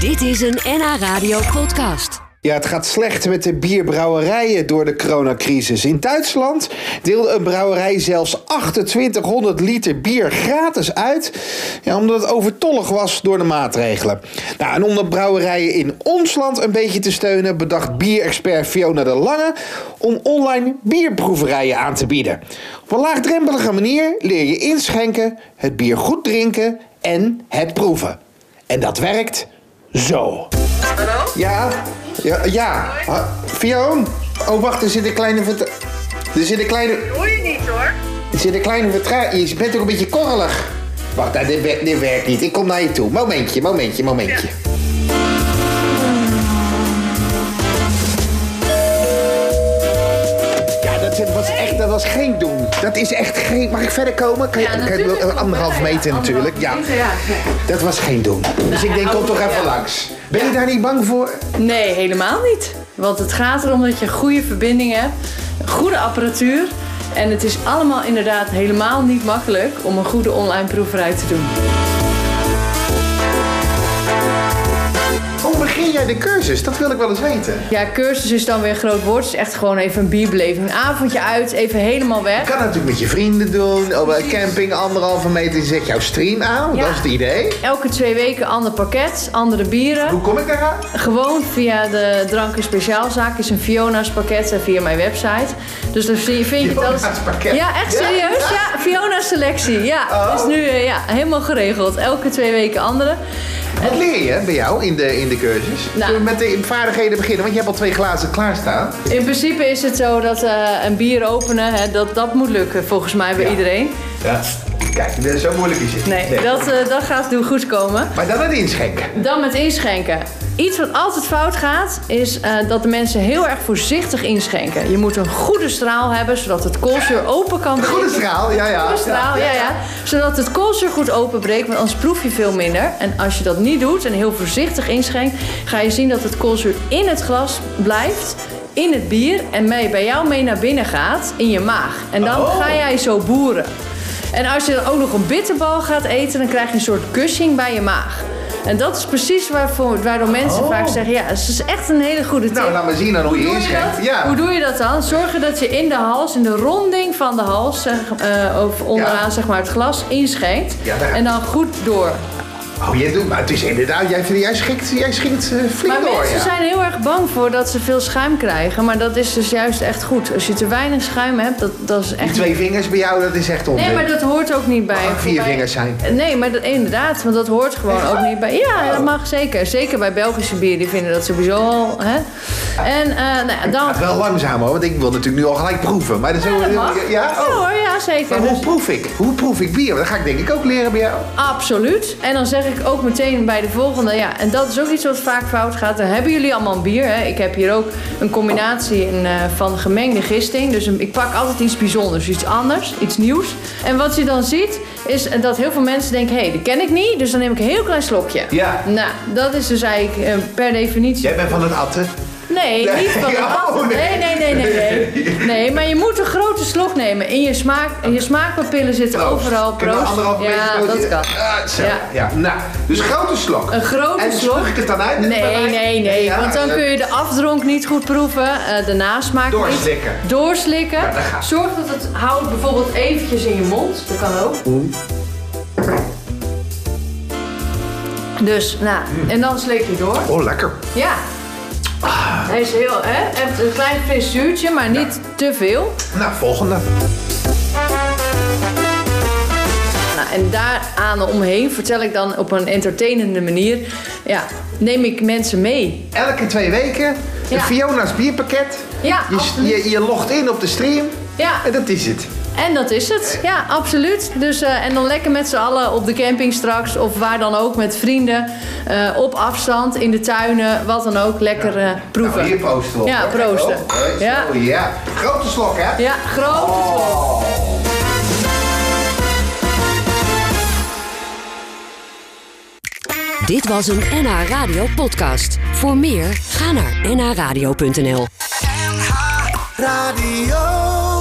Dit is een NH Radio podcast. Ja, het gaat slecht met de bierbrouwerijen door de coronacrisis. In Duitsland deelde een brouwerij zelfs 2800 liter bier gratis uit. Ja, omdat het overtollig was door de maatregelen. Nou, en om de brouwerijen in ons land een beetje te steunen, bedacht bierexpert Fiona de Lange om online bierproeverijen aan te bieden. Op een laagdrempelige manier leer je inschenken, het bier goed drinken en het proeven. En dat werkt zo. Hallo? Ja, ja, ja. Ha- Fioon? Oh, wacht, er zit een kleine vert... Er zit een kleine... Hoor je niet hoor. Er zit een kleine vertraging. Je bent ook een beetje korrelig. Wacht, nou, dit, wer- dit werkt niet. Ik kom naar je toe. Momentje, momentje, momentje. Ja, dat was echt, dat was geen doen. Dat is echt geen... Mag ik verder komen? Kan je, kan je- anderhalf meter natuurlijk. Ja, dat was geen doen. Dus ik denk, kom toch even langs. Ben je daar niet bang voor? Nee, helemaal niet. Want het gaat erom dat je een goede verbinding hebt, een goede apparatuur. En het is allemaal inderdaad helemaal niet makkelijk om een goede online proeverij te doen. Hoe begin jij de cursus? Dat wil ik wel eens weten. Ja, cursus is dan weer een groot woord. Het is echt gewoon even een bierbeleving. Een avondje uit, even helemaal Je weg. kan het natuurlijk met je vrienden doen. Op een camping, anderhalve meter, je zet jouw stream aan. Ja. Dat is het idee. Elke twee weken ander pakket, andere bieren. Hoe kom ik daaraan? Gewoon via de Drank en Speciaalzaak is een Fiona's pakket en via mijn website. Dus dan zie je- vind je dat... Fiona's pakket? Ja, echt Ja? serieus. Ja, Fiona's selectie. Ja, Oh. is nu eh, ja, helemaal geregeld. Elke twee weken andere. Wat leer je bij jou in de, in de cursus? Nou. Zullen we met de vaardigheden beginnen? Want je hebt al twee glazen klaarstaan. In principe is het zo dat eh, een bier openen, hè, dat, dat moet lukken volgens mij bij Ja. iedereen. Ja. Kijk, dat is zo moeilijk is het. Nee, Dat, eh, dat gaat nu goed komen. Maar dan het inschenken. Dan met inschenken. Iets wat altijd fout gaat, is eh, dat de mensen heel erg voorzichtig inschenken. Je moet een goede straal hebben, zodat het koolzuur open kan Een goede straal, ja, ja. Goede straal, ja, ja. Zodat het koolzuur goed openbreekt, want anders proef je veel minder. En als je dat niet doet en heel voorzichtig inschenkt, ga je zien dat het koolzuur in het glas blijft, in het bier en mee, bij jou mee naar binnen gaat, in je maag. En dan Oh. ga jij zo boeren. En als je dan ook nog een bitterbal gaat eten, dan krijg je een soort cushing bij je maag. En dat is precies waarvoor, waarom mensen Oh. vaak zeggen, ja, dus het is echt een hele goede tip. Nou, laat maar zien dan hoe je Hoe doe je inschenkt. dat? Ja. Hoe doe je dat dan? Zorgen dat je in de hals, in de ronding van de hals, zeg, eh, of onderaan Ja. zeg maar, het glas inschenkt. Ja, daar. en dan goed door. Oh, jij doet, maar het is inderdaad, jij, jij schikt, jij schikt eh, flink maar door. mensen ja. zijn heel erg bang voor dat ze veel schuim krijgen. Maar dat is dus juist echt goed. Als je te weinig schuim hebt, dat, dat is Die echt... twee vingers bij jou, dat is echt onzin. Nee, maar dat hoort ook niet bij. Mag ook vier Bij- vingers zijn. Nee, maar dat, inderdaad, want dat hoort gewoon ook niet bij. Ja, dat mag zeker. Zeker bij Belgische bier, die vinden dat sowieso al. Hè? En eh, nou, ja, dan. Het gaat wel langzaam hoor, want ik wil natuurlijk nu al gelijk proeven. Maar dat is Ja, dat mag. ja, oh. Ja hoor, ja zeker. Maar hoe Dus- proef ik? Hoe proef ik bier? Want Dat ga ik denk ik ook leren bij jou. Absoluut. En dan zeg ik ook meteen bij de volgende, ja, en dat is ook iets wat vaak fout gaat. Dan hebben jullie allemaal een bier. Hè? Ik heb hier ook een combinatie in, eh, van gemengde gisting. Dus een- ik pak altijd iets bijzonders, iets anders, iets nieuws. En wat je dan ziet, is dat heel veel mensen denken, hé, hey, die ken ik niet, dus dan neem ik een heel klein slokje. Ja. Nou, dat is dus eigenlijk eh, per definitie... Jij bent van het atten. Nee, Nee. niet van de Oh, patat. nee. Nee, nee, nee, nee. Nee, maar je moet een grote slok nemen. In je, smaak, in je smaakpapillen zitten overal Kunnen we proost. anderhalf meter ja, groot- dat kan. Ah, zo. Ja. Ja. Nou, dus grote slok. Een grote en slok. spuug ik het dan uit? Nee, Bij mij? nee, nee, Ja, want dan eh, kun je de afdronk niet goed proeven, eh, de nasmaak Doorslikken. niet. Doorslikken. Ja, dat gaat. Zorg dat het houdt bijvoorbeeld eventjes in je mond. Dat kan ook. Dus, nou, en dan slik je door. Oh, lekker. Ja. Hij is heel, hè? Heeft een klein fris zuurtje, maar niet te veel. Nou, volgende. Nou, en daaraan omheen vertel ik dan op een entertainende manier. Ja, neem ik mensen mee. Elke twee weken een Ja. Fiona's bierpakket. Ja, je, absoluut. je, je logt in op de stream. Ja. En dat is het. En dat is het. Ja, absoluut. Dus, eh, en dan lekker met z'n allen op de camping straks. Of waar dan ook, met vrienden. eh, op afstand, in de tuinen, wat dan ook. Lekker eh, proeven. Nou, hier proosten we op, Ja, hoor. proosten. Oh, hè, zo, Ja. ja. Grote slok, hè? Oh. Ja, groot. Dit was een NH Radio podcast. Voor meer, ga naar nhradio.nl. NH Radio.